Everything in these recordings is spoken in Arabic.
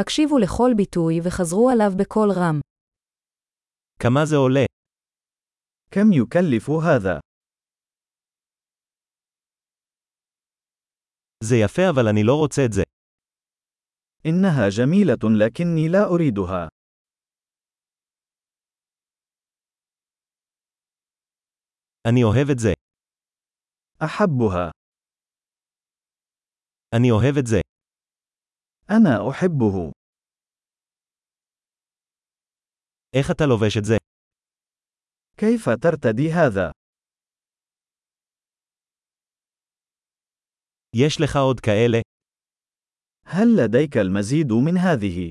הקשיבו לכל ביטוי וחזרו עליו בקול רם. כמה זה עולה? كم يكلف هذا؟ זה יפה אבל אני לא רוצה את זה. إنها جميلة لكني لا أريدها. אני אוהב את זה. أحبها. אני אוהב את זה. أنا أحبه. איך אתה לובש את זה? كيف ترتدي هذا؟ יש לך עוד כאלה? هل لديك المزيد من هذه؟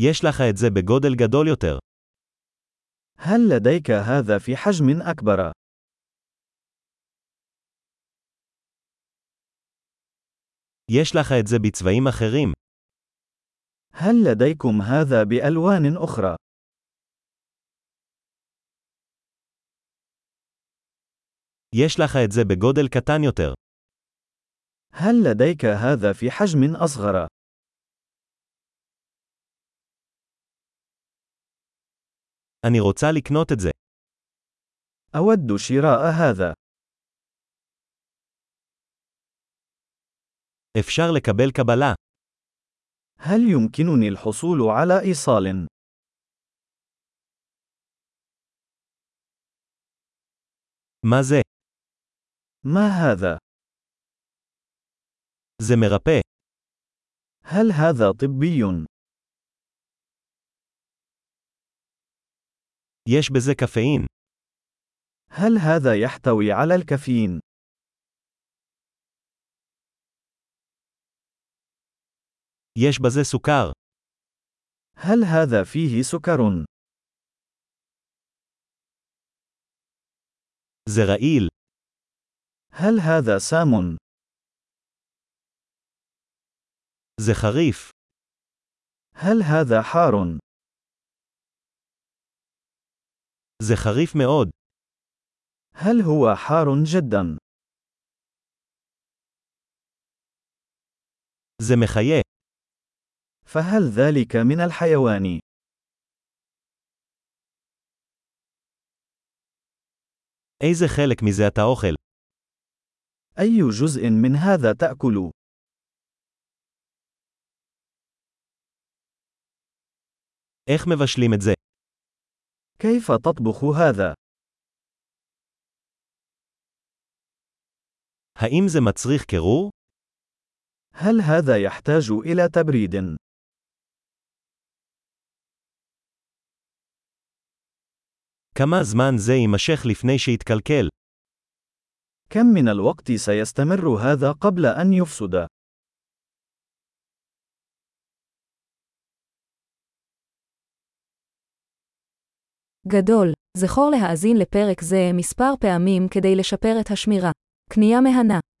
יש לך את זה בגודל גדול יותר. هل لديك هذا في حجم أكبر؟ יש לך את זה בצבעים אחרים. هل لديكم هذا بألوان أخرى؟ יש לך את זה בגודל קטן יותר. هل لديك هذا في حجم أصغر؟ אני רוצה לקנות את זה. أود شراء هذا. אפשר לקבל קבלה. هل يمكنني الحصول على إيصال؟ מה זה? ما هذا؟ זה מרפא. هل هذا طبي؟ יש בזה קפאין. هل هذا يحتوي على الكافيين؟ יש בזה סוכר. هل هذا فيه سكر؟ זה רעיל. هل هذا سام؟ זה חריף. هل هذا حار؟ זה חריף מאוד. هل هو حار جدا؟ זה מחיה. فهل ذلك من الحيوان؟ איזה חלק מזה אתה אוכל? أي جزء من هذا تأكل؟ איך מבשלים את זה? كيف تطبخ هذا؟ האם זה מצריך קירור? هل هذا يحتاج إلى تبريد؟ כמה זמן זה יימשך לפני שיתקלקל? كم من الوقت سيستمر هذا قبل أن يفسد؟ גדול, זכור להאזין לפרק זה מספר פעמים כדי לשפר את השמירה. קנייה מהנה